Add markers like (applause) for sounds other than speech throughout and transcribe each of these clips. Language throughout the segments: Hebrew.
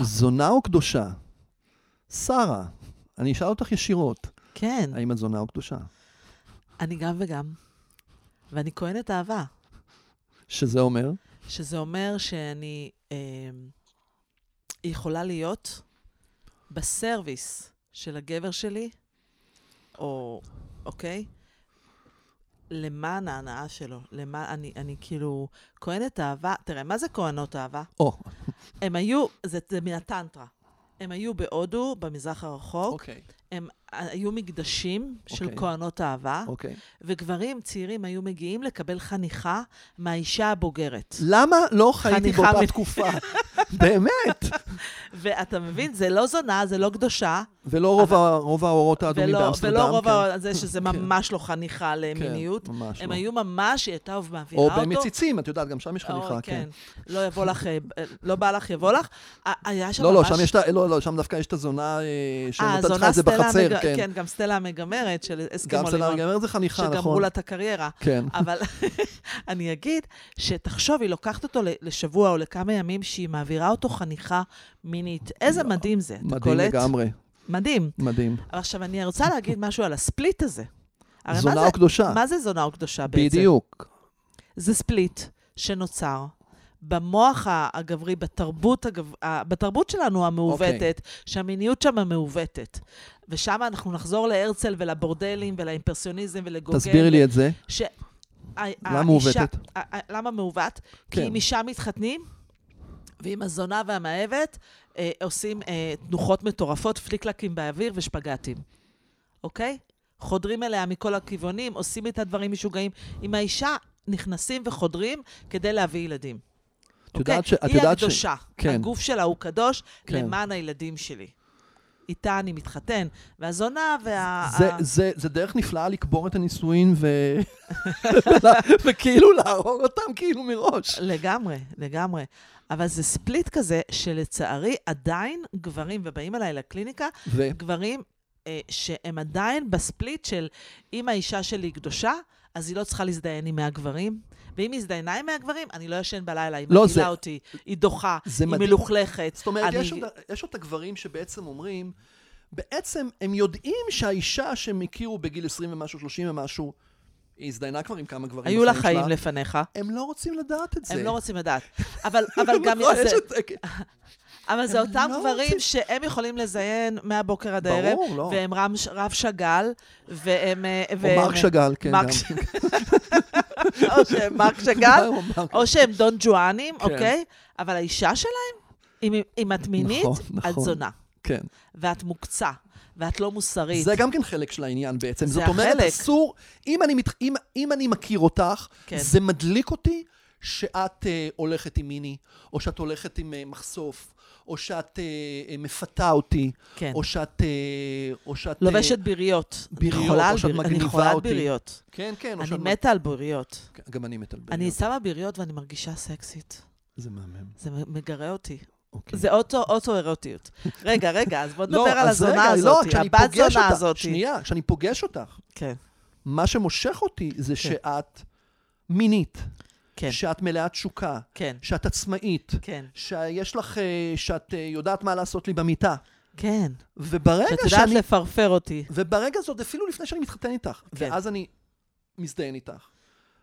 זונה או קדושה? שרה, אני אשאל אותך ישירות, כן, האם את זונה או קדושה? אני גם וגם. ואני כהנת אהבה, שזה אומר? שזה אומר שאני אה, יכולה להיות בסרוויס של הגבר שלי, או, אוקיי? למען ההנאה שלו, למען, אני, אני כאילו, כהנת אהבה, תראה, מה זה כהנות אהבה? או, הם היו, זה, זה מן הטנטרה. הם היו בהודו, במזרח הרחוק, אוקיי, הם אה, היו מקדשים של אוקיי. כהנות אהבה, אוקיי. וגברים צעירים היו מגיעים לקבל חניכה מהאישה הבוגרת. למה לא חייתי חניכה באותה מ- תקופה? באמת. ואתה מבין, זה לא זונה, זה לא קדושה, ולא רוב ה- רוב האורות האדומים ולא, באמסטרדם. ולא רוב כן. ה- זה שזה כן. ממש לא חניכה למיניות. כן, ממש הם לא. היו ממש, היא הייתה מעבירה או אותו. אה, במציצים, את יודעת, גם שם יש או, חניכה, כן. לא יבוא לך, אה, אה, לא בא לך, יבוא לך. אה, היה שם לא, ממש... לא, שם יש את ה... לא, לא, שם דווקא יש את הזונה אה, שנותנת לך את זה סטלה בחצר, המג- כן. כן, גם סטלה המגמרת של גם אסקימו סלאר לימון, גמר זה חניכה, נכון. שגמרו לה אה, את הקריירה. כן. אבל (laughs) אני אגיד שתחשוב, היא לוקחת אותו ל- לשבוע או לכמה ימים שהיא מעבירה אותו חניכה מינית. איזה לא, מדהים זה, אתה מדהים קולט? לגמרי, מדהים. מדהים. עכשיו, אני רוצה להגיד משהו על הספליט הזה. הרי מה זונה זה- או קדושה? מה זה זונה או קדושה בעצם? בדיוק. זה ספליט שנוצר במוח ה- הגברי, בתרבות, הגב... ה- בתרבות שלנו המעוותת, אוקיי. okay. שהמיניות שם המעוותת. ושם אנחנו נחזור להרצל ולבורדלים ולאימפרסיוניזם ולגוגל. תסבירי לי את זה. ש... ה- למה האישה- מעוותת? ה- ה- למה מעוות? כן. כי אם אישה מתחתנים, ועם הזונה והמאהבת אה, עושים אה, תנוחות מטורפות, פליקלקים באוויר ושפגטים, אוקיי? חודרים אליה מכל הכיוונים, עושים איתה דברים משוגעים. עם האישה נכנסים וחודרים כדי להביא ילדים. אוקיי? את יודעת ש... את היא יודעת ש- הקדושה. כן. הגוף שלה הוא קדוש כן. למען הילדים שלי. איתה אני מתחתן. והזונה וה... זה, זה, זה דרך נפלאה לקבור את הנישואין ו... (laughs) ולה- וכאילו להרוג אותם כאילו מראש. לגמרי, לגמרי. אבל זה ספליט כזה שלצערי עדיין גברים, ובאים אליי לקליניקה, ו... גברים אה, שהם עדיין בספליט של אם האישה שלי קדושה, אז היא לא צריכה להזדיין עם מהגברים, ואם היא הזדיינה עם מהגברים, אני לא ישן בלילה, היא לא, מגעילה זה- אותי, היא דוחה, זה היא מדהים. מלוכלכת. זאת אומרת, אני- יש, עוד, יש עוד את הגברים שבעצם אומרים, בעצם הם יודעים שהאישה שהם הכירו בגיל 20 ומשהו, 30 ומשהו, היא הזדיינה כבר עם כמה גברים היו לה בחיים שלה. חיים לפניך, הם לא רוצים לדעת את זה. הם לא רוצים לדעת. אבל, אבל (laughs) גם... לא, יש זה, את זה, כן. אבל זה הם אותם לא גברים רוצים- שהם יכולים לזיין מהבוקר עד ברור, הערב, לא. והם רם, רב שג"ל, והם... אה, או והם- מרק שגל, כן. מרק גם. ש- (laughs) או שהם מרק שג"ל, (laughs) או מרק- או שהם דון ג'ואנים, כן. אוקיי? אבל האישה שלהם, אם- אם את מינית, נכון, את נכון. זונה, (laughs) כן. ואת מוקצה, ואת לא מוסרית. זה גם כן חלק של העניין בעצם. זה זאת אומרת, החלק. אסור, אם אני, מת, אם, אם אני מכיר אותך, כן. זה מדליק אותי שאת אה, הולכת עם מיני, או שאת הולכת עם אה, מחשוף, או שאת אה, אה, מפתה אותי, כן. או שאת... אה, או שאת אה, לובשת ביריות. אני ביריות, חולה או על שאת ביר- אני מגניבה חולה על אותי. ביריות. כן, כן. או אני שאת- מתה על ביריות. כן, גם אני מת על בריאות. אני שמה ביריות ואני מרגישה סקסית. זה מהמם. זה מגרה אותי. אוקיי. כן. זה אוטו- אוטו-אירוטיות. רגע, רגע, אז בוא לא, נדבר על אז רגע, הזונה לא, הזאת, כשאני הבת פוגש זונה אותך- הזאת. שנייה, כשאני פוגש אותך, כן, מה שמושך אותי זה שאת מינית, כן, שאת מלאה תשוקה, כן, שאת עצמאית, כן, שיש לך, אה, שאת אה, יודעת מה לעשות לי במיטה. כן. וברגע שאת יודעת שאני... לפרפר אותי. וברגע זאת, אפילו לפני שאני מתחתן איתך, כן. ואז אני מזדיין איתך,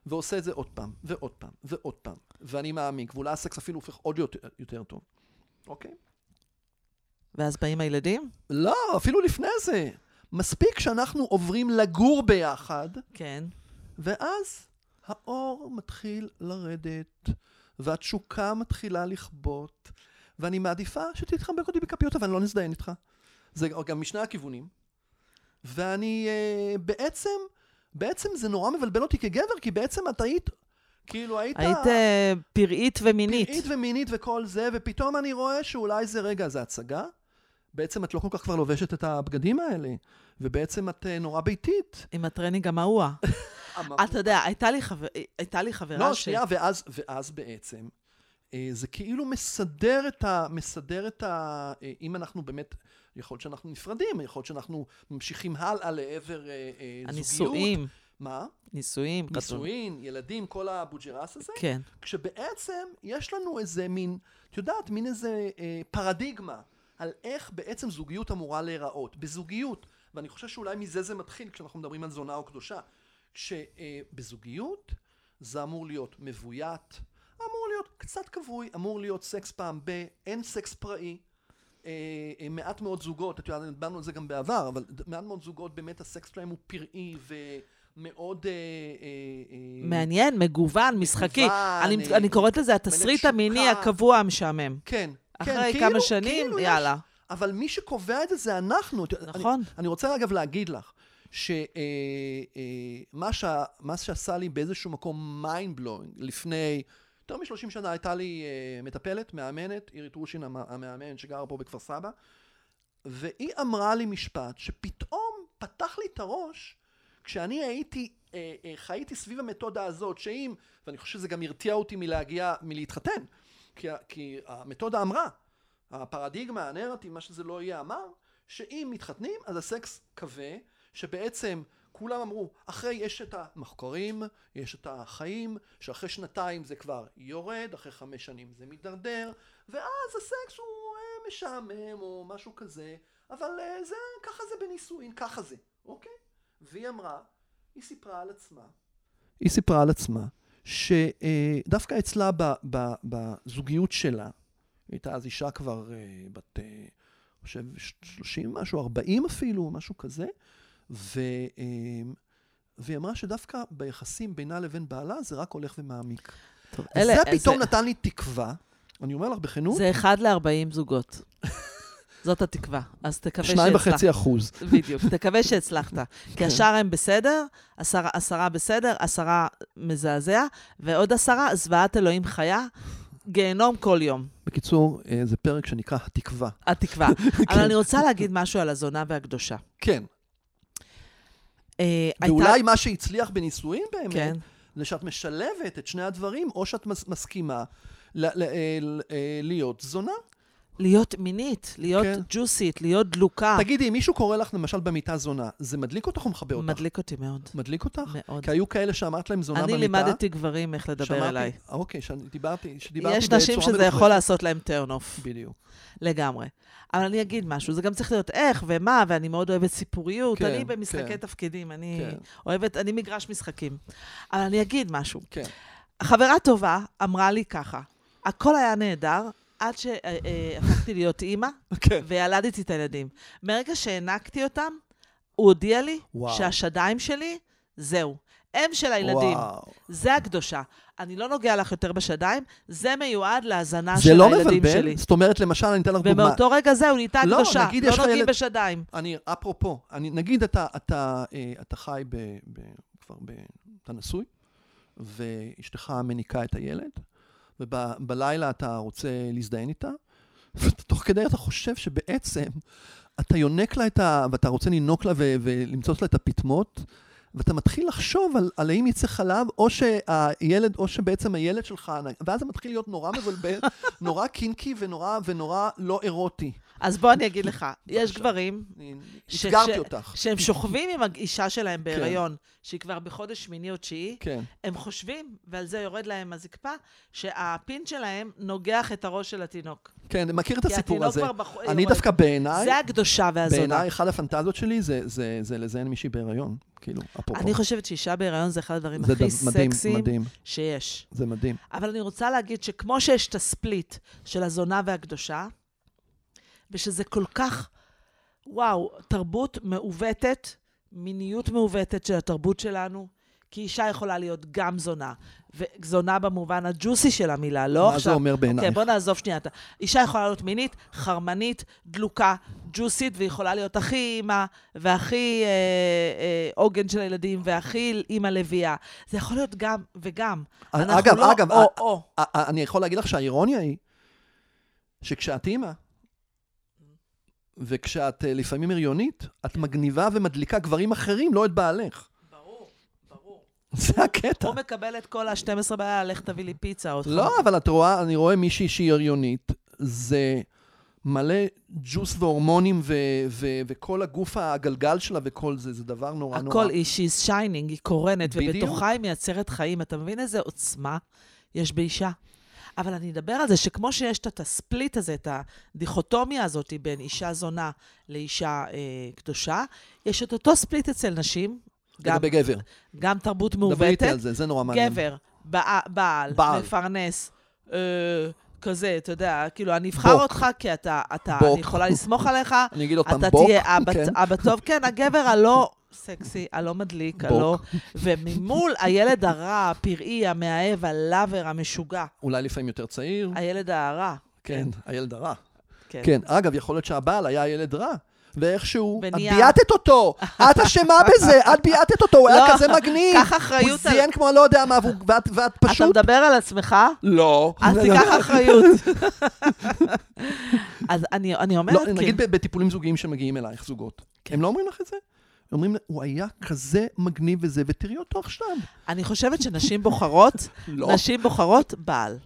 ועושה את זה עוד פעם, ועוד פעם, ועוד פעם, ואני מעמיק, ואולי הסקס אפילו הופך עוד יותר, יותר טוב. אוקיי? ואז באים הילדים? לא, אפילו לפני זה. מספיק שאנחנו עוברים לגור ביחד, כן. ואז האור מתחיל לרדת, והתשוקה מתחילה לכבות, ואני מעדיפה שתתחבק אותי בכפיות, אבל אני לא נזדיין איתך. זה גם משני הכיוונים. ואני אה, בעצם, בעצם זה נורא מבלבל אותי כגבר, כי בעצם את היית, כאילו היית... היית אה, פראית ומינית. פראית ומינית וכל זה, ופתאום אני רואה שאולי זה רגע, זה הצגה. בעצם את לא כל כך כבר לובשת את הבגדים האלה, ובעצם את אה, נורא ביתית. עם (laughs) הטרנינג המהוע. אתה יודע, הייתה לי חבר- הייתה לי חברה לא, ש- שנייה, ואז, ואז בעצם, אה, זה כאילו מסדר את ה... מסדר את ה... אה, אם אנחנו באמת, יכול להיות שאנחנו נפרדים, יכול להיות שאנחנו ממשיכים הלאה לעבר אה, אה, זוגיות. הנישואים, מה? נישואים, חתונה. נישואין, ילדים, כל הבוג'רס הזה, כן, כשבעצם יש לנו איזה מין את יודעת, מין איזה אה, פרדיגמה על איך בעצם זוגיות אמורה להיראות. בזוגיות, ואני חושב שאולי מזה זה מתחיל כשאנחנו מדברים על זונה או קדושה, כשבזוגיות זה אמור להיות מבוית, אמור להיות קצת כבוי, אמור להיות סקס פעם ב, אין סקס פראי. אה, אה, מעט מאוד זוגות, את יודעת, דיברנו על זה גם בעבר, אבל ד- מעט מאוד זוגות באמת הסקס שלהם הוא פראי ומאוד... אה, אה, אה, מעניין, מגוון, משחקי. אני- אה, אני קוראת לזה מלך התסריט המיני שוקה. הקבוע המשעמם. כן. אחרי כן, כמה כאילו- שנים, כאילו יש- יאללה. אבל מי שקובע את זה זה אנחנו. את- נכון. אני, אני רוצה אגב להגיד לך, שמה אה, אה, מה שה- מה שעשה לי באיזשהו מקום mind blowing לפני יותר מ-30 שנה הייתה לי אה, מטפלת, מאמנת, אירית רושין המ- המאמן שגרה פה בכפר סבא, והיא אמרה לי משפט שפתאום פתח לי את הראש כשאני הייתי, אה, אה, חייתי סביב המתודה הזאת, שאם, ואני חושב שזה גם הרתיע אותי מלהגיע, מלהתחתן, כי, ה- כי המתודה אמרה, הפרדיגמה, הנרטיב, מה שזה לא יהיה אמר, שאם מתחתנים, אז הסקס כבה, שבעצם כולם אמרו, אחרי יש את המחקרים, יש את החיים, שאחרי שנתיים זה כבר יורד, אחרי חמש שנים זה מידרדר, ואז הסקס הוא אה, משעמם או משהו כזה, אבל אה, זה, ככה זה בנישואין, ככה זה, אוקיי? והיא אמרה, היא סיפרה על עצמה. היא סיפרה על עצמה, שדווקא אצלה ב- ב- בזוגיות שלה, היא הייתה אז אישה כבר אה, בת, אה, אני חושב, 30 משהו, 40 אפילו, משהו כזה, ו, אה, והיא אמרה שדווקא ביחסים בינה לבין בעלה זה רק הולך ומעמיק. אלה- אה, זה פתאום זה- נתן לי תקווה, אני אומר לך בכנות, זה אחד ל-40 זוגות. (laughs) זאת התקווה. אז תקווה שניים שהצלחת. וחצי כן. אחוז. בדיוק, (laughs) תקווה שהצלחת. כי השאר הם בסדר, עשרה, עשרה בסדר, עשרה מזעזע, ועוד עשרה, זוועת אלוהים חיה, גיהנום כל יום, בקיצור, אה, זה פרק שנקרא התקווה. (laughs) התקווה. אבל אני רוצה להגיד משהו על הזונה והקדושה. כן. אה, הייתה- ואולי מה שהצליח בנישואים באמת, כן. זה שאת משלבת את שני הדברים, או שאת מס- מסכימה ל- ל- אה, ל- אה, להיות זונה. להיות מינית, להיות כן. ג'וסית, להיות דלוקה, תגידי, אם מישהו קורא לך למשל במיטה זונה, זה מדליק אותך או מכבה אותך? מדליק אותי מאוד. מדליק אותך? מאוד. נכון. כי היו כאלה שאמרת להם זונה אני במיטה. לימדתי גברים איך לדבר שמעתי- אליי. אה, אוקיי, שאני- דיברתי, שדיברתי יש נשים שזה מלוכלכת. יכול לעשות להם turn off. בדיוק. לגמרי. אבל אני אגיד משהו, זה גם צריך להיות איך ומה, ואני מאוד אוהבת סיפוריות. כן, אני במשחקי כן. תפקידים, אני כן. אוהבת, אני מגרש משחקים. אבל אני אגיד משהו. (laughs) כן. חברה טובה אמרה לי ככה, הכל היה נהדר עד שהפכתי להיות אימא כן. וילדתי את הילדים. מרגע שהענקתי אותם, הוא הודיע לי וואו. שהשדיים שלי, זהו. הם של הילדים, וואו. זה הקדושה. אני לא נוגע לך יותר בשדיים, זה מיועד להזנה זה של לא הילדים שלי. מבלבל? זאת אומרת, למשל, אני אתן לך דוגמה. ומאותו רגע זהו, נהייתה לא, הקדושה, נגיד לא יש לך נוגעים ילד- בשדיים. אני, אפרופו, אני, נגיד אתה, אתה, אה, אתה חי ב, ב, כבר ב... אתה נשוי, ואשתך מניקה את הילד, ובלילה אתה רוצה להזדיין איתה, (laughs) ותוך כדי אתה חושב שבעצם אתה יונק לה את ה... ואתה רוצה לינוק לה ו, ולמצוץ לה את הפטמות, ואתה מתחיל לחשוב על, על האם יצא חלב, או שהילד, או שבעצם הילד שלך, ואז זה מתחיל להיות נורא מבלבל, (laughs) נורא קינקי ונורא, ונורא לא אירוטי. אז בוא אני אגיד (laughs) לך, יש בבקשה. גברים אני- ש- אתגרתי ש- אותך. שהם שוכבים עם האישה שלהם בהיריון, שהיא כבר בחודש שמיני או תשיעי, כן. הם חושבים, ועל זה יורד להם הזקפה, שהפין שלהם נוגח את הראש של התינוק. כן, אני מכיר את כי הסיפור התינוק הזה. כבר בח- אני יורד. דווקא בעיניי, זה הקדושה והזונה. בעיניי אחת הפנטזיות שלי זה- זה- זה לזיין מישהי בהיריון, כאילו, אפרופו. אני חושבת שאישה בהיריון זה אחד הדברים זה הכי ד- מדהים, סקסיים מדהים, שיש. זה מדהים. אבל אני רוצה להגיד שכמו שיש את הספליט של הזונה והקדושה, ושזה כל כך, וואו, תרבות מעוותת, מיניות מעוותת של התרבות שלנו, כי אישה יכולה להיות גם זונה, וזונה במובן הג'וסי של המילה, לא מה זה עכשיו... אומר כן, בעינייך? בוא נעזוב שנייה. את ה- אישה יכולה להיות מינית, חרמנית, דלוקה, ג'וסית, ויכולה להיות הכי אימא, והכי אה, אה, עוגן של הילדים, והכי אימא לביאה. זה יכול להיות גם וגם. אנחנו אגב, לא אגב, אה, או, א- או. א- א- אני יכול להגיד לך שהאירוניה היא שכשאת אימא, וכשאת אה, לפעמים הריונית, את מגניבה ומדליקה גברים אחרים, לא את בעלך. ברור, ברור. זה הקטע. הוא מקבל את כל ה-12 בעיה, לך תביא לי פיצה עוד אה. לא, אבל את רואה, אני רואה מישהי שהיא הריונית, זה מלא ג'וס והורמונים ו- ו- וכל הגוף הגלגל שלה וכל זה, זה דבר נורא נורא. הכל היא, she's shining, היא קורנת, בדיוק. ובתוכה היא מייצרת חיים. אתה מבין איזה עוצמה יש באישה? אבל אני אדבר על זה שכמו שיש את הספליט הזה, את הדיכוטומיה הזאת בין אישה זונה לאישה אה, קדושה, יש את אותו ספליט אצל נשים, גם, לגבי גבר. גם תרבות דברי איתי מעוותת. על זה, זה נורא מעניין. גבר, בע- בעל, בעל. מפרנס, אה, כזה, אתה יודע, כאילו, אני אבחר בוק. אותך כי אתה, אתה, בוק. אני יכולה לסמוך עליך, (laughs) אני אגיד עוד פעם, אתה בוק, תהיה אבא, כן. אבא טוב, כן, הגבר הלא סקסי, הלא מדליק, בוק. הלא... וממול הילד הרע, הפראי, המאהב, הלאבר, המשוגע, אולי לפעמים יותר צעיר, הילד הרע. כן, הילד הרע. כן. כן, אגב, יכול להיות שהבעל היה ילד רע. ואיכשהו, את ונהיה- ביעטת (laughs) אותו, את אשמה בזה, את ביעטת אותו, הוא היה לא, כזה מגניב. קח אחריות הוא על- זיין כמו לא יודע מה, והוא- ואת- ואת אתה פשוט... מדבר על (laughs) עצמך? לא. אז תיקח אחריות. (laughs) אז אני, אני אומרת, לא, כן. נגיד ב- בטיפולים זוגיים שמגיעים אלייך, זוגות. הם לא אומרים לך את זה? הם אומרים, הוא היה כזה מגניב וזה, ותראי אותו עכשיו. אני חושבת שנשים בוחרות (laughs) לא. נשים בוחרות בעל.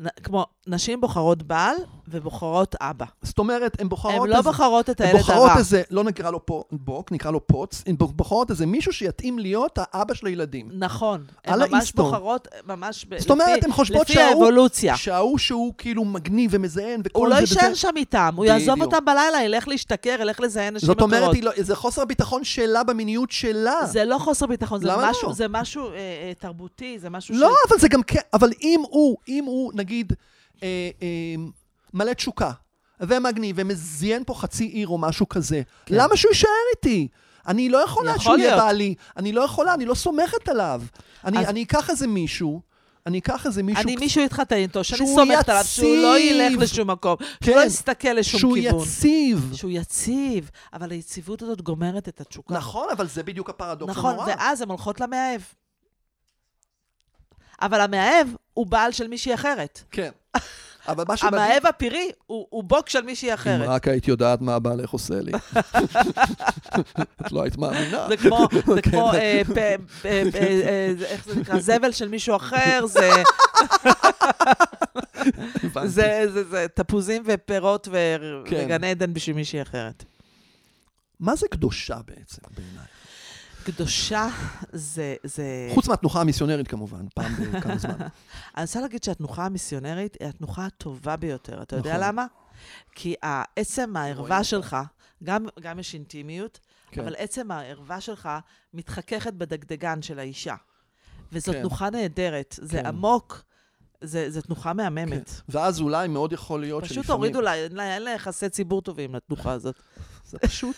נ- כמו, נשים בוחרות בעל ובוחרות אבא. זאת אומרת, הן בוחרות... הן לא איזה- בוחרות את הן הילד בוחרות הרע. איזה, לא נקרא לו פה בוק, נקרא לו פוץ, הן בוחרות איזה מישהו שיתאים להיות האבא של הילדים. נכון. הן על ממש האיסטו. בוחרות, ממש... ב- זאת אומרת, לפי- הן חושבות לפי שההוא- האבולוציה. שההוא שהוא כאילו מגניב ומזיין וכל הוא זה לא וזה. יישאר שם איתם, הוא יעזוב בדיוק. אותם בלילה, ילך להשתכר, ילך לזיין נשים זאת אומרת, אחרות. היא לא, זה חוסר ביטחון שלה במיניות שלה. זה לא חוסר ביטחון, זה למה משהו- לא? זה משהו אה, אה, תרבותי, זה משהו לא, אבל זה גם כן, אבל אם הוא, אם הוא, נגיד, אה, אה, מלא תשוקה, ומגניב, ומזיין פה חצי עיר או משהו כזה, כן. למה שהוא יישאר איתי? אני לא יכולה יכול שהוא יהיה להיות. בעלי, אני לא יכולה, אני לא סומכת עליו. אני, אז- אני אקח איזה מישהו, אני אקח איזה מישהו אני קצת- מישהו התחתן איתו, שאני שהוא סומכת עליו, שהוא לא יציב. ילך לשום מקום, שהוא כן. לא יסתכל לשום שהוא כיוון. יציב. שהוא יציב, אבל היציבות הזאת גומרת את התשוקה. נכון, אבל זה בדיוק הפרדוקס נכון, הנורא. ואז הן הולכות למאהב. אבל המאהב הוא בעל של מישהי אחרת. כן. אבל מה שמדהים... המאהב הפראי הוא, הוא בוק של מישהי אם אחרת. רק היית יודעת מה הבעלך עושה (laughs) לי. את לא היית מאמינה. זה (laughs) כמו, זה כן. כמו אה, פ- אה, אה, אה, זה- איך זה נקרא? (laughs) זבל של מישהו אחר, זה, הבנתי. זה, זה, זה תפוזים ופירות ו... כן. וגן עדן בשביל מישהי אחרת. מה זה קדושה בעצם בעיניי? קדושה זה... זה... חוץ מהתנוחה המיסיונרית כמובן, פעם בכמה (laughs) זמן. אני רוצה להגיד שהתנוחה המיסיונרית היא התנוחה הטובה ביותר. אתה יודע נכון. למה? כי ה- עצם הערווה אותה. שלך, גם, גם יש אינטימיות, כן. אבל עצם הערווה שלך מתחככת בדגדגן של האישה. וזו כן. תנוחה נהדרת, זה כן. עמוק, זה, זה תנוחה מהממת. ואז אולי מאוד יכול להיות שלפעמים... פשוט הורידו לה, אין לה אין לה יחסי ציבור טובים לתנוחה הזאת. (laughs) זה פשוט,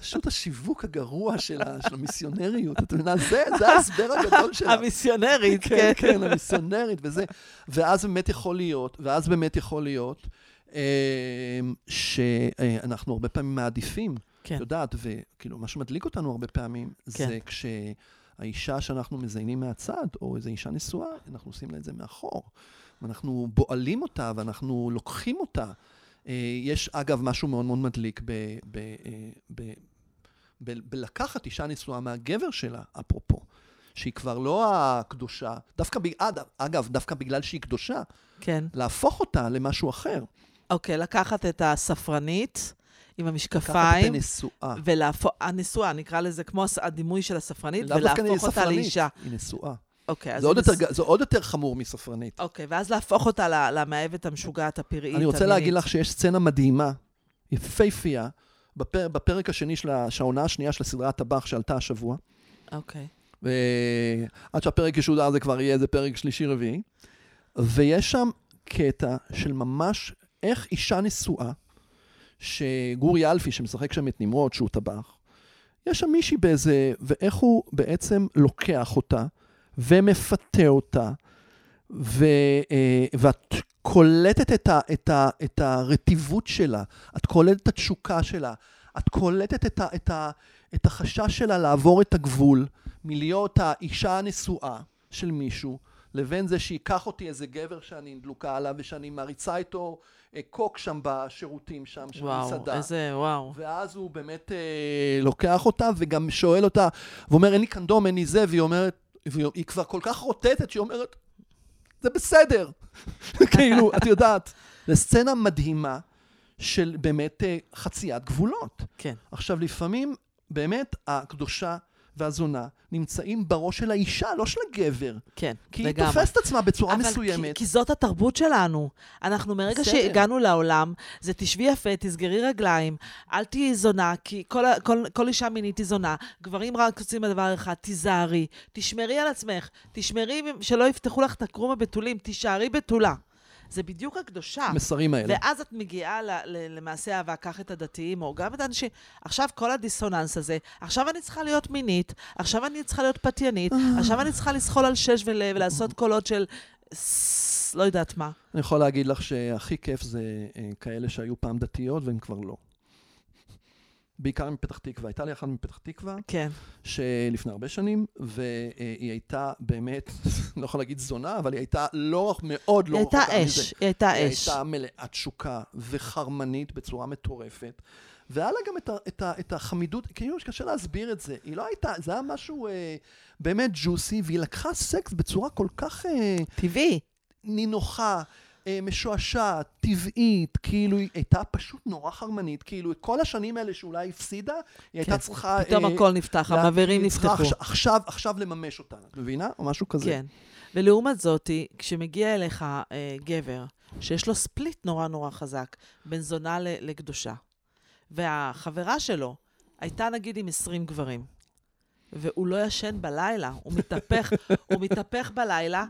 פשוט השיווק הגרוע של ה- של המיסיונריות. את מבינה, זה זה ההסבר (laughs) הגדול שלה. המיסיונרית, (laughs) כן, כן. כן, המיסיונרית וזה. ואז באמת יכול להיות, ואז באמת יכול להיות, אה, שאנחנו הרבה פעמים מעדיפים, כן. את יודעת, וכאילו, מה שמדליק אותנו הרבה פעמים, זה כן. כשהאישה שאנחנו מזיינים מהצד, או איזו אישה נשואה, אנחנו עושים לה את זה מאחור. ואנחנו בועלים אותה, ואנחנו לוקחים אותה. אה, יש, אגב, משהו מאוד מאוד מדליק ב... ב, אה, ב ב- בלקחת אישה נשואה מהגבר שלה, אפרופו, שהיא כבר לא הקדושה, דווקא, ב- אד- אגב, דווקא בגלל שהיא קדושה, כן. להפוך אותה למשהו אחר. אוקיי, לקחת את הספרנית עם לקחת את המשקפיים. הנשואה. ולהפוך, הנשואה, נקרא לזה כמו הס- הדימוי של הספרנית, לאו דווקא ולהפוך אותה ספרנית, לאישה. היא נשואה. אוקיי, אז זה עוד, הנס- יותר, ג- זה עוד יותר חמור מספרנית. אוקיי, ואז להפוך אותה ל- למאהבת המשוגעת הפראית. אני רוצה המינית. להגיד לך שיש סצנה מדהימה, יפהפייה, בפר, בפרק השני של ה- שהעונה השנייה של הסדרה הטבח שעלתה השבוע, אוקיי. ועד אה, שהפרק ישודר זה כבר יהיה איזה פרק שלישי-רביעי, ויש שם קטע של ממש איך אישה נשואה, שגורי אלפי, שמשחק שם את נמרוד, שהוא טבח, יש שם מישהי באיזה, ואיך הוא בעצם לוקח אותה ומפתה אותה, ו, אה, ואת קולטת את, ה, את, ה, את הרטיבות שלה, את קולטת את התשוקה שלה, את קולטת את, ה, את, ה, את החשש שלה לעבור את הגבול מלהיות האישה הנשואה של מישהו, לבין זה שייקח אותי איזה גבר שאני דלוקה עליו ושאני מעריצה איתו אה, קוק שם בשירותים שם, של וואו, מסעדה. איזה, וואו. ואז הוא באמת אה, לוקח אותה וגם שואל אותה, ואומר, אין לי קנדום, אין לי זה, והיא אומרת, והיא היא כבר כל כך רוטטת, שהיא אומרת, זה בסדר. (laughs) כאילו, את יודעת. זו סצנה מדהימה של באמת אה, חציית גבולות. כן. עכשיו, לפעמים באמת הקדושה והזונה נמצאים בראש של האישה, לא של הגבר. כן, כי לגמרי. היא תופסת עצמה בצורה אבל מסוימת. כי, כי זאת התרבות שלנו. אנחנו מרגע בסדר. שהגענו לעולם, זה תשבי יפה, תסגרי רגליים, אל תהיי זונה, כי כל, ה- כל, כל אישה מינית היא זונה. גברים רק עושים דבר אחד, תיזהרי, תשמרי על עצמך, תשמרי שלא יפתחו לך את הקרום הבתולים, תישארי בתולה. זה בדיוק הקדושה. המסרים האלה. ואז את מגיעה ל- ל- למעשה אהבה, קח את הדתיים, או גם את האנשים. עכשיו כל הדיסוננס הזה, עכשיו אני צריכה להיות מינית, עכשיו אני צריכה להיות פתיינית, אה. עכשיו אני צריכה לזחול על שש ול- ולעשות קולות של "ס- לא יודעת מה. אני יכול להגיד לך שהכי כיף זה אה, כאלה שהיו פעם דתיות והן כבר לא. בעיקר מפתח תקווה. הייתה לי אחת מפתח תקווה, כן. שלפני הרבה שנים, והיא הייתה באמת, (laughs) לא יכול להגיד זונה, אבל היא הייתה לא, רח- מאוד לא היא הייתה רחוקה מזה. אש, היא הייתה היא אש. הייתה מלאה תשוקה וחרמנית בצורה מטורפת. והיה לה גם את, ה, את, ה, את החמידות, כאילו שקשה להסביר את זה. היא לא הייתה, זה היה משהו אה, באמת ג'וסי, והיא לקחה סקס בצורה כל כך אה, טבעי. נינוחה, אה, משועשעת, טבעית, כאילו היא הייתה פשוט נורא חרמנית. כאילו את כל השנים האלה שאולי הפסידה, היא הייתה כן. צריכה... פתאום אה, הכל נפתח, המעברים היא צריכה נפתחו. עכש- עכשיו, עכשיו לממש אותה, את מבינה? או משהו כזה. כן. ולעומת זאתי, כשמגיע אליך אה, גבר שיש לו ספליט נורא נורא חזק בין זונה ל- לקדושה, והחברה שלו הייתה נגיד עם 20 גברים, והוא לא ישן בלילה, הוא מתהפך, (laughs) הוא מתהפך בלילה,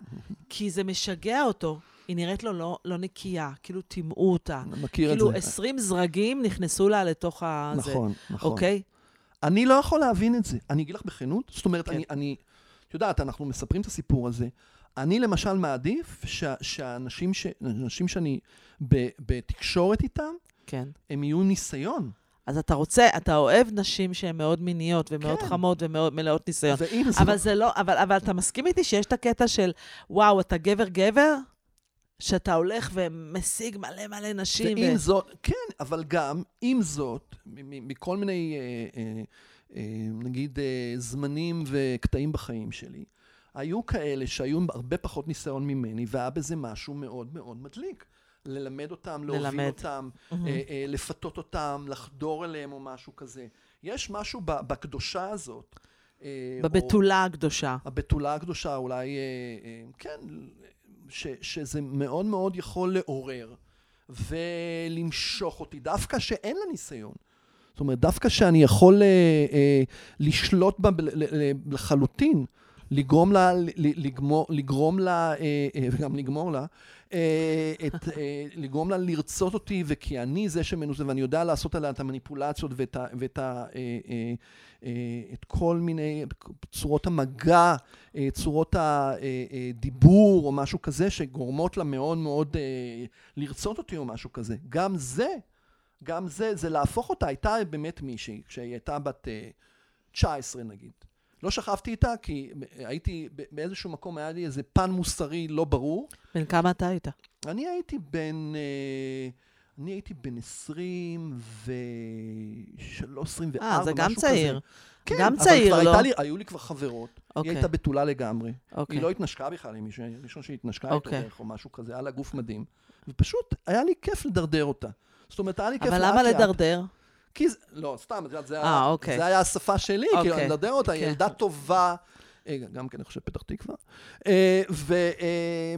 כי זה משגע אותו. היא נראית לו לא, לא נקייה, כאילו טימאו אותה. אני מכיר כאילו את זה. 20 זרגים נכנסו לה לתוך ה... זה, נכון, נכון. אוקיי? אני לא יכול להבין את זה. אני אגיד לך בכנות, זאת אומרת, כן. אני, אני, את יודעת, אנחנו מספרים את הסיפור הזה. אני למשל מעדיף שה, שהאנשים ש, אנשים שאני ב, בתקשורת איתם, כן. הם יהיו ניסיון. אז אתה רוצה, אתה אוהב נשים שהן מאוד מיניות ומאוד כן. חמות ומאוד מלאות ניסיון. ואם זה... (laughs) אבל זה לא, אבל, אבל אתה מסכים איתי שיש את הקטע של, וואו, אתה גבר-גבר? שאתה הולך ומשיג מלא מלא נשים. ועם זאת, כן, אבל גם, עם זאת, מ- מ- מכל מיני, אה, אה, אה, נגיד, אה, זמנים וקטעים בחיים שלי, היו כאלה שהיו עם הרבה פחות ניסיון ממני, והיה בזה משהו מאוד מאוד מדליק. ללמד אותם, להוביל ללמד. אותם, מהמם. אה, אה, לפתות אותם, לחדור אליהם או משהו כזה. יש משהו ב- בקדושה הזאת. אה, או- בבתולה הקדושה. הבתולה הקדושה, אולי, אה, אה, כן, ש, שזה מאוד מאוד יכול לעורר ולמשוך אותי, דווקא שאין לה ניסיון. זאת אומרת, דווקא שאני יכול אה, אה, לשלוט בה ב- ל- ל- לחלוטין, לגרום לה, ל- ל- לגמור, לגרום לה, אה, אה, וגם לגמור לה, אה, את, אה, לגרום לה לרצות אותי, וכי אני זה שמנוסה, ואני יודע לעשות עליה את המניפולציות ואת, ה, ואת ה, אה, אה, אה, את כל מיני צורות המגע, אה, צורות הדיבור או משהו כזה, שגורמות לה מאוד מאוד אה, לרצות אותי או משהו כזה. גם זה, גם זה, זה להפוך אותה. הייתה באמת מישהי, כשהיא הייתה בת אה, 19 נגיד. לא שכבתי איתה, כי הייתי, ב- באיזשהו מקום היה לי איזה פן מוסרי לא ברור. בן כמה אתה היית? אני הייתי בן... אה, אני הייתי בן 23, 24, משהו אה, כזה. זה גם צעיר. כן, גם אבל צעיר, כבר לא? הייתה לי, היו לי כבר חברות. היא אוקיי, הייתה בתולה לגמרי. אוקיי. היא לא התנשקה בכלל עם מישהו, ראשון שהיא התנשקה איתו אוקיי. דרך או משהו כזה, היה לה גוף מדהים. ופשוט היה לי כיף לדרדר אותה. זאת אומרת, היה לי כיף אבל לאט לאט. למה לדרדר? כי זה, לא, סתם, את יודעת, זה, אה, היה, אוקיי. זה היה השפה שלי, אוקיי. כאילו, אני מדבר אותה, היא כן. ילדה טובה, אה, גם כן, אני חושב, פתח תקווה. אה, ו, אה,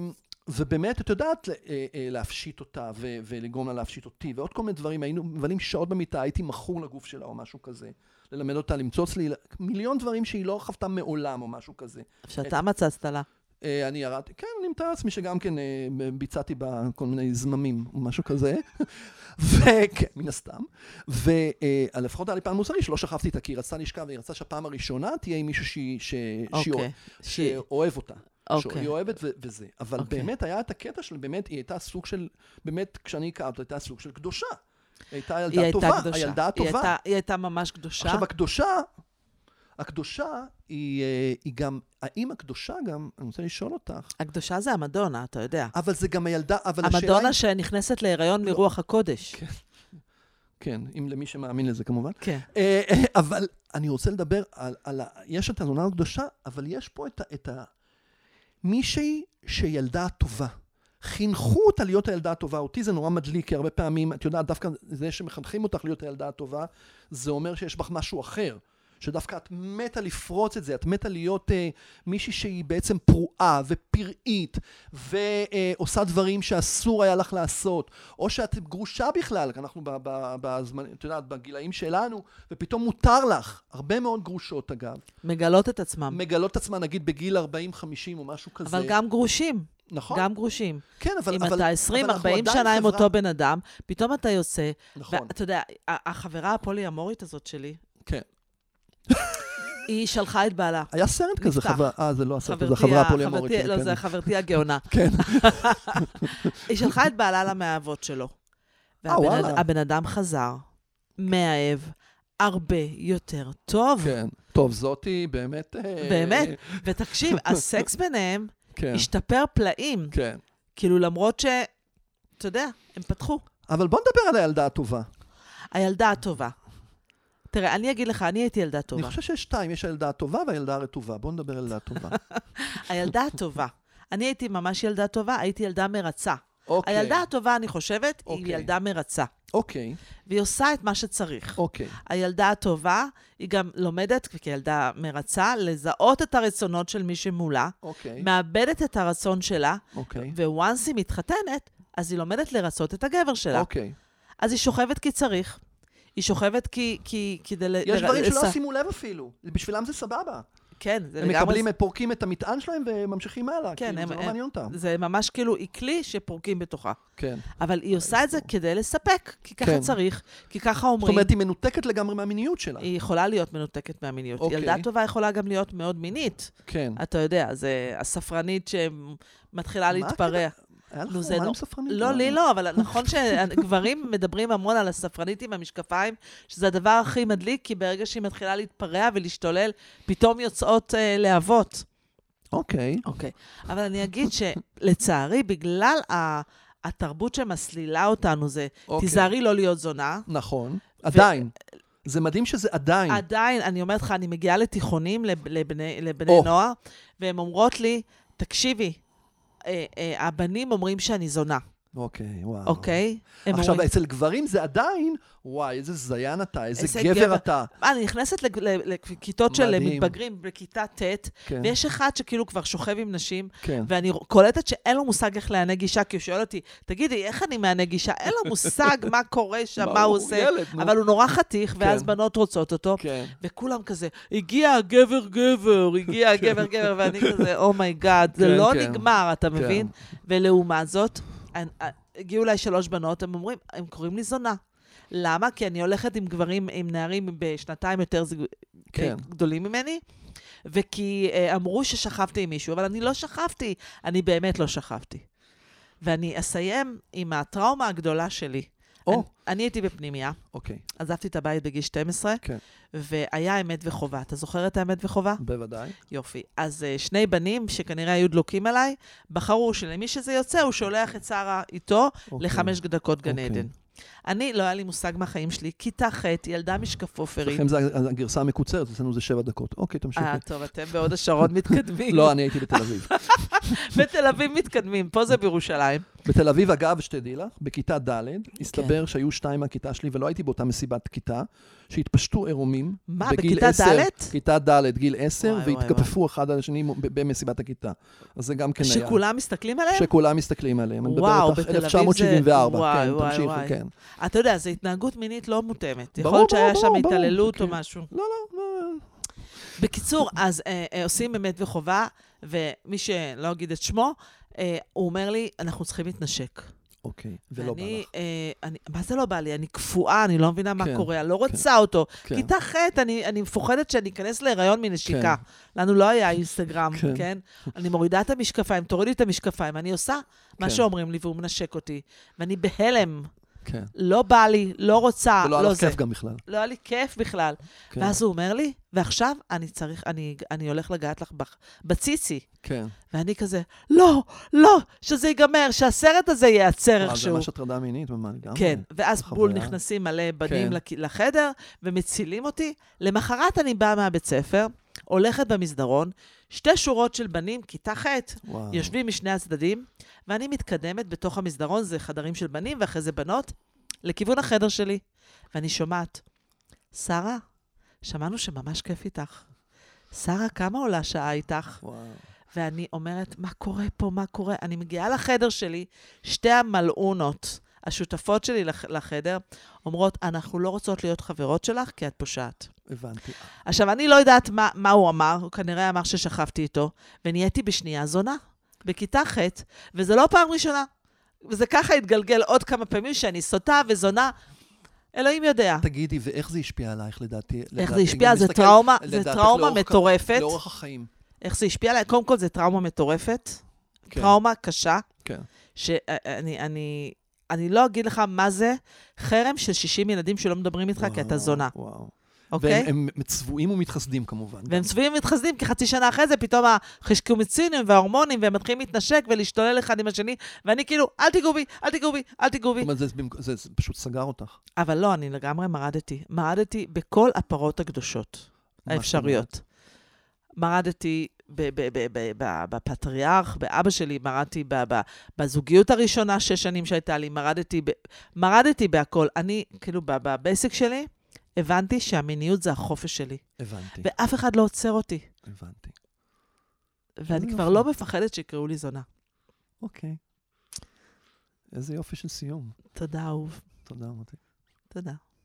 ובאמת, את יודעת, אה, אה, להפשיט אותה ו, ולגרום לה להפשיט אותי, ועוד כל מיני דברים, היינו מבלים שעות במיטה, הייתי מכור לגוף שלה או משהו כזה. ללמד אותה למצוץ לי מיליון דברים שהיא לא חוותה מעולם או משהו כזה. שאתה מצצת לה. אה, אני ירדתי, כן, אני מתאר לעצמי שגם כן אה, ביצעתי בה כל מיני זממים או משהו כזה, (laughs) וכן, מן הסתם. ולפחות היה לי פן מוסרי שלא שכבתי איתה, כי היא רצתה לשכב, והיא רצתה שהפעם הראשונה תהיה עם מישהו שהיא- ש- שהיא אוקיי. אוה- שהיא- שאוהב אותה. אוקיי. שהיא אוהבת ו- וזה. אבל אוקיי. באמת היה את הקטע של, באמת, היא הייתה סוג של, באמת, כשאני הכרתי אותה, הייתה סוג של קדושה. היא הייתה היא ילדה הייתה טובה, קדושה. הילדה היא הטובה. הייתה- היא הייתה ממש קדושה. עכשיו, הקדושה, הקדושה היא, אה, היא גם, האם הקדושה גם, אני רוצה לשאול אותך, הקדושה זה המדונה, אתה יודע. אבל זה גם הילדה, אבל השאלה המדונה היא... שנכנסת להיריון מרוח הקודש. כן. כן, אם למי שמאמין לזה כמובן. כן. אה, אה, אבל אני רוצה לדבר על... על ה... יש את הזונה הקדושה, אבל יש פה את ה... את ה... מישהי שילדה הטובה. חינכו אותה להיות הילדה הטובה. אותי זה נורא מדליק, כי הרבה פעמים, את יודעת, דווקא זה שמחנכים אותך להיות הילדה הטובה, זה אומר שיש בך משהו אחר. שדווקא את מתה לפרוץ את זה, את מתה להיות אה, מישהי שהיא בעצם פרועה ופראית ועושה דברים שאסור היה לך לעשות, או שאת גרושה בכלל, כי אנחנו ב- ב- בזמן, את יודעת, בגילאים שלנו, ופתאום מותר לך, הרבה מאוד גרושות אגב, מגלות את עצמם. מגלות את עצמן נגיד בגיל 40-50 או משהו כזה. אמ- אבל גם גרושים, נכון? גם גרושים. כן, אבל... אם אבל, אתה אבל 20-40 אנחנו עדיין שנה עם חברה- אותו בן אדם, פתאום אתה יוצא, נכון, ואתה יודע, ה- החברה הפולי-אמורית הזאת שלי, כן. (laughs) היא שלחה את בעלה. היה סרט כזה, נפתח. חבר... אה, זה לא הסרט, זה חברתי, החברה ה- הפוליאמורית. חברתי- כן, לא, כן. זה חברתי הגאונה. (laughs) כן, (laughs) היא שלחה את בעלה למאהבות שלו. אה, וואלה. והבן הבן אדם חזר, מאהב, הרבה יותר (laughs) טוב. כן. טוב, זאתי באמת... אה, באמת? ותקשיב, הסקס ביניהם כן, השתפר פלאים. כן. כאילו, למרות ש... אתה יודע, הם פתחו. אבל בוא נדבר על הילדה הטובה. הילדה הטובה. תראה, אני אגיד לך, אני הייתי ילדה אני טובה. חושב שיש שתיים, יש הילדה הטובה והילדה הרטובה. בוא נדבר על הילדה (laughs) הטובה. הילדה הטובה. אני הייתי ממש ילדה טובה, הייתי ילדה מרצה. אוקיי. הילדה הטובה, אני חושבת, היא אוקיי. ילדה מרצה. אוקיי, והיא עושה את מה שצריך. אוקיי. הילדה הטובה, היא גם לומדת, כילדה מרצה, לזהות את הרצונות של מי שמולה, אוקיי, מאבדת את הרצון שלה, אוקיי. וואנס היא מתחתנת, אז היא לומדת לרצות את הגבר שלה. אוקיי. אז היא שוכבת כי צריך. היא שוכבת כי... כי כדי ל... יש ל- דברים שלא לס- שימו לב אפילו. בשבילם זה סבבה. כן, זה הם לגמרי... מקבלים, הם פורקים את המטען שלהם וממשיכים הלאה. כן, כאילו, הם- זה לא הם- מעניין אותם. זה ממש כאילו היא כלי שפורקים בתוכה. כן. אבל היא עושה את זה כדי לספק, כי ככה כן. צריך, כי ככה זאת אומרים. אומרת, היא מנותקת לגמרי מהמיניות שלה. היא יכולה להיות מנותקת מהמיניות. אוקיי. ילדה טובה יכולה גם להיות מאוד מינית. כן. אתה יודע, זה הספרנית שמתחילה מה להתפרע. היה לך נו, זה חורמה לא- עם ספרנית? אוקיי. לא, לי לא, אבל נכון שגברים מדברים המון על הספרנית עם המשקפיים, שזה הדבר הכי מדליק, כי ברגע שהיא מתחילה להתפרע ולהשתולל, פתאום יוצאות אה, להבות. אוקיי. אוקיי. אבל אני אגיד שלצערי, בגלל ה... התרבות שמסלילה אותנו זה, אוקיי. תיזהרי לא להיות זונה. נכון. עדיין. זה מדהים שזה עדיין. עדיין, אני אומרת לך, אני מגיעה לתיכונים לב- לבני, לבני או. נוער, והן אומרות לי, תקשיבי, אה, אה, הבנים אומרים שאני זונה, אוקיי, וואו. אוקיי? הם עכשיו, אומרים- אצל גברים זה עדיין, וואי, איזה זיין אתה, איזה איזה גבר. גבר אתה. אה, אני נכנסת לג- ל- לכיתות של מדהים. מתבגרים בכיתה ט', כן, ויש אחד שכאילו כבר שוכב עם נשים, כן. ואני רוא- קולטת שאין לו מושג איך לענג אישה, כי הוא שואל אותי, תגידי, איך אני מענג אישה? אין לו מושג מה קורה (laughs) שם, מה הוא עושה, ילד, נו. אבל הוא נורא חתיך, ואז כן. בנות רוצות אותו, כן. וכולם כזה, הגיע הגבר גבר, (laughs) הגיע הגבר גבר, ואני כזה, אומייגאד, זה כן, לא כן. נגמר, אתה כן. מבין? ולעומת זאת, אני- אה, הגיעו אליי שלוש בנות, הם אומרים, הם קוראים לי זונה. למה? כי אני הולכת עם גברים, עם נערים בשנתיים יותר זג- אה, כן. גדולים ממני, וכי אה, אמרו ששכבתי עם מישהו, אבל אני לא שכבתי, אני באמת לא שכבתי. ואני אסיים עם הטראומה הגדולה שלי. או. אני, אני הייתי בפנימייה, אוקיי, עזבתי את הבית בגיל 12, כן. והיה אמת וחובה. אתה זוכר את האמת וחובה? בוודאי. יופי. אז uh, שני בנים, שכנראה היו דלוקים עליי, בחרו שלמי שזה יוצא, הוא שולח את שרה איתו אוקיי. לחמש דקות גן אוקיי. עדן. אני, לא היה לי מושג מהחיים שלי. כיתה ח', ילדה משקפופרים. לכם זה הגרסה המקוצרת, אצלנו זה שבע דקות. אוקיי, תמשיכי. אה, טוב, אתם בהוד השרון (laughs) מתקדמים. לא, אני הייתי בתל אביב. (laughs) בתל אביב מתקדמים, פה זה בירושלים. בתל אביב, אגב, שתדעי לך, בכיתה ד', כן. הסתבר שהיו שתיים מהכיתה שלי, ולא הייתי באותה מסיבת כיתה, שהתפשטו עירומים. מה, בגיל בכיתה עשר- כן, ד'? כיתה ד', גיל עשר, וואי, וואי, והתכפפו אחד על השני ב- במסיבת הכיתה. אז זה גם כן היה. שכולם מסתכלים עליהם? שכולם מסתכלים עליהם. אני מדבר וואו, איתך בתל אביב זה- 1974, וואי, כן, וואי, תמשיכי, וואי. כן. אתה יודע, זו התנהגות מינית לא מותאמת. יכול ברור, להיות שהיה ברור, שם ברור, התעללות או כן. משהו. לא, לא, בקיצור, אז אה, אה, עושים אמת וחובה, ומי שלא אגיד את שמו, אה, הוא אומר לי, אנחנו צריכים להתנשק. אוקיי, ולא בא ואני, לך. אה, אני, מה זה לא בא לי? אני קפואה, אני לא מבינה מה כן, קורה, אני לא רוצה אותו. כן. כיתה ח', אני, אני מפוחדת שאני אכנס להיריון מנשיקה. לנו לא היה אינסטגרם, כן. כן. אני מורידה את המשקפיים, תורידי את המשקפיים, אני עושה מה כן. שאומרים לי, והוא מנשק אותי. ואני בהלם, כן. לא בא לי, לא רוצה, ולא היה לא לך זה. כיף גם בכלל. לא היה לי כיף בכלל. כן, ואז הוא אומר לי, ועכשיו אני צריך, אני, אני הולך לגעת לך בח- בציצי. כן. ואני כזה, לא, לא, שזה ייגמר, שהסרט הזה ייעצר וואו, זה איכשהו. ממש הטרדה מינית, ממש לגמרי. כן, ואז חוויה. בול נכנסים מלא בנים אה? כן. לכ- לחדר ומצילים אותי. למחרת אני באה מהבית ספר, הולכת במסדרון, שתי שורות של בנים, כיתה ח', וואו. יושבים משני הצדדים, ואני מתקדמת בתוך המסדרון, זה חדרים של בנים ואחרי זה בנות, לכיוון החדר שלי. ואני שומעת, שרה, שמענו שממש כיף איתך. שרה, כמה עולה שעה איתך? וואו. ואני אומרת, מה קורה פה, מה קורה? אני מגיעה לחדר שלי, שתי המלעונות, השותפות שלי לח- לחדר, אומרות, אנחנו לא רוצות להיות חברות שלך, כי את פושעת. הבנתי. עכשיו, אני לא יודעת מה, מה הוא אמר, הוא כנראה אמר ששכבתי איתו, ונהייתי בשנייה זונה, בכיתה ח', וזה לא פעם ראשונה. וזה ככה התגלגל עוד כמה פעמים שאני סוטה וזונה. אלוהים יודע. תגידי, ואיך זה השפיע עלייך לדעתי? איך לדעתי, זה אם השפיע? זה נסתכל- טראומה, זה לדעתך טראומה לאורך- מטורפת. לאורך החיים. איך זה השפיע עליי? קודם כל, זו טראומה מטורפת. כן, טראומה קשה, כן. שאני אני, אני לא אגיד לך מה זה חרם של 60 ילדים שלא מדברים איתך כי אתה וואו, זונה, וואו. אוקיי? והם הם צבועים ומתחסדים כמובן. והם צבועים ומתחסדים, כי חצי שנה אחרי זה פתאום החשקומיצינים וההורמונים, והם מתחילים להתנשק ולהשתולל אחד עם השני, ואני כאילו, אל תיגעו בי, אל תיגעו בי, אל תיגעו זאת בי. אומרת, זה, במק- זה, זה פשוט סגר אותך. אבל לא, אני לגמרי מרדתי. מרדתי בכל הפרות הקדושות מה האפשריות. מרדתי ב- ב- ב- ב- ב- בפטריארך, באבא שלי, מרדתי ב- ב- בזוגיות הראשונה, שש שנים שהייתה לי, מרדתי, ב- מרדתי בהכל. אני, כאילו, ב- בבייסיק שלי, הבנתי שהמיניות זה החופש שלי, הבנתי, ואף אחד לא עוצר אותי. הבנתי. ואני איזה כבר יופי. לא מפחדת שיקראו לי זונה. אוקיי. איזה יופי של סיום. תודה, אהוב. תודה, מוטי. תודה.